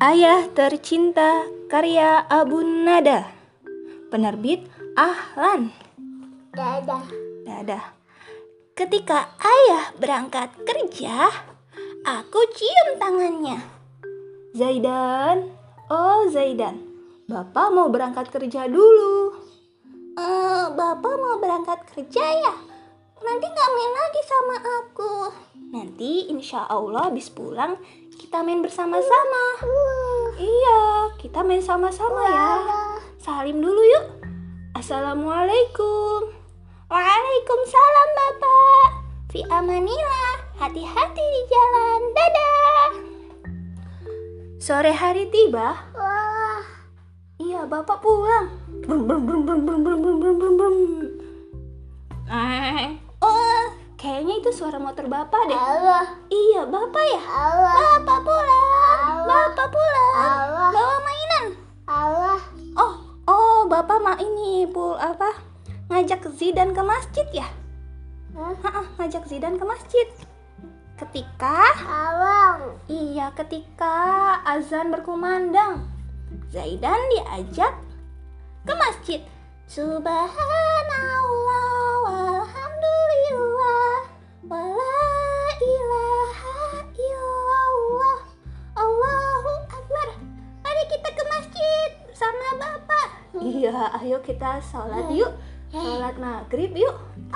Ayah Tercinta karya Abun Nada Penerbit Ahlan Dadah. Dadah Ketika ayah berangkat kerja Aku cium tangannya Zaidan Oh Zaidan Bapak mau berangkat kerja dulu "Eh, Bapak mau berangkat kerja ya? Nanti nggak main lagi sama aku Nanti insya Allah habis pulang kita main bersama-sama Iya, kita main sama-sama ya. Salim dulu yuk. Assalamualaikum. Waalaikumsalam Bapak. Fi amanillah. Hati-hati di jalan. Dadah. Sore hari tiba. Wah, Iya, Bapak pulang. Brum, brum, brum, brum, brum, brum, brum, brum, brum, brum. Eh, Oh, kayaknya itu suara motor Bapak deh. Allah, Iya, Bapak ya. Allah, Bapak pulang. Bapak pulang. Allah, Bawa mainan. Allah. Oh, oh, bapak mah ini pul apa? Ngajak Zidan ke masjid ya? Hah? Ha-ah, ngajak Zidan ke masjid. Ketika, Awang, iya ketika azan berkumandang, Zaidan diajak ke masjid. Subhanallah walhamdulillah wala ilaha illallah Allahu Akbar. Mari kita ke masjid Iya. sama Bapak. Iya, ayo kita sholat yuk. Sholat maghrib yuk.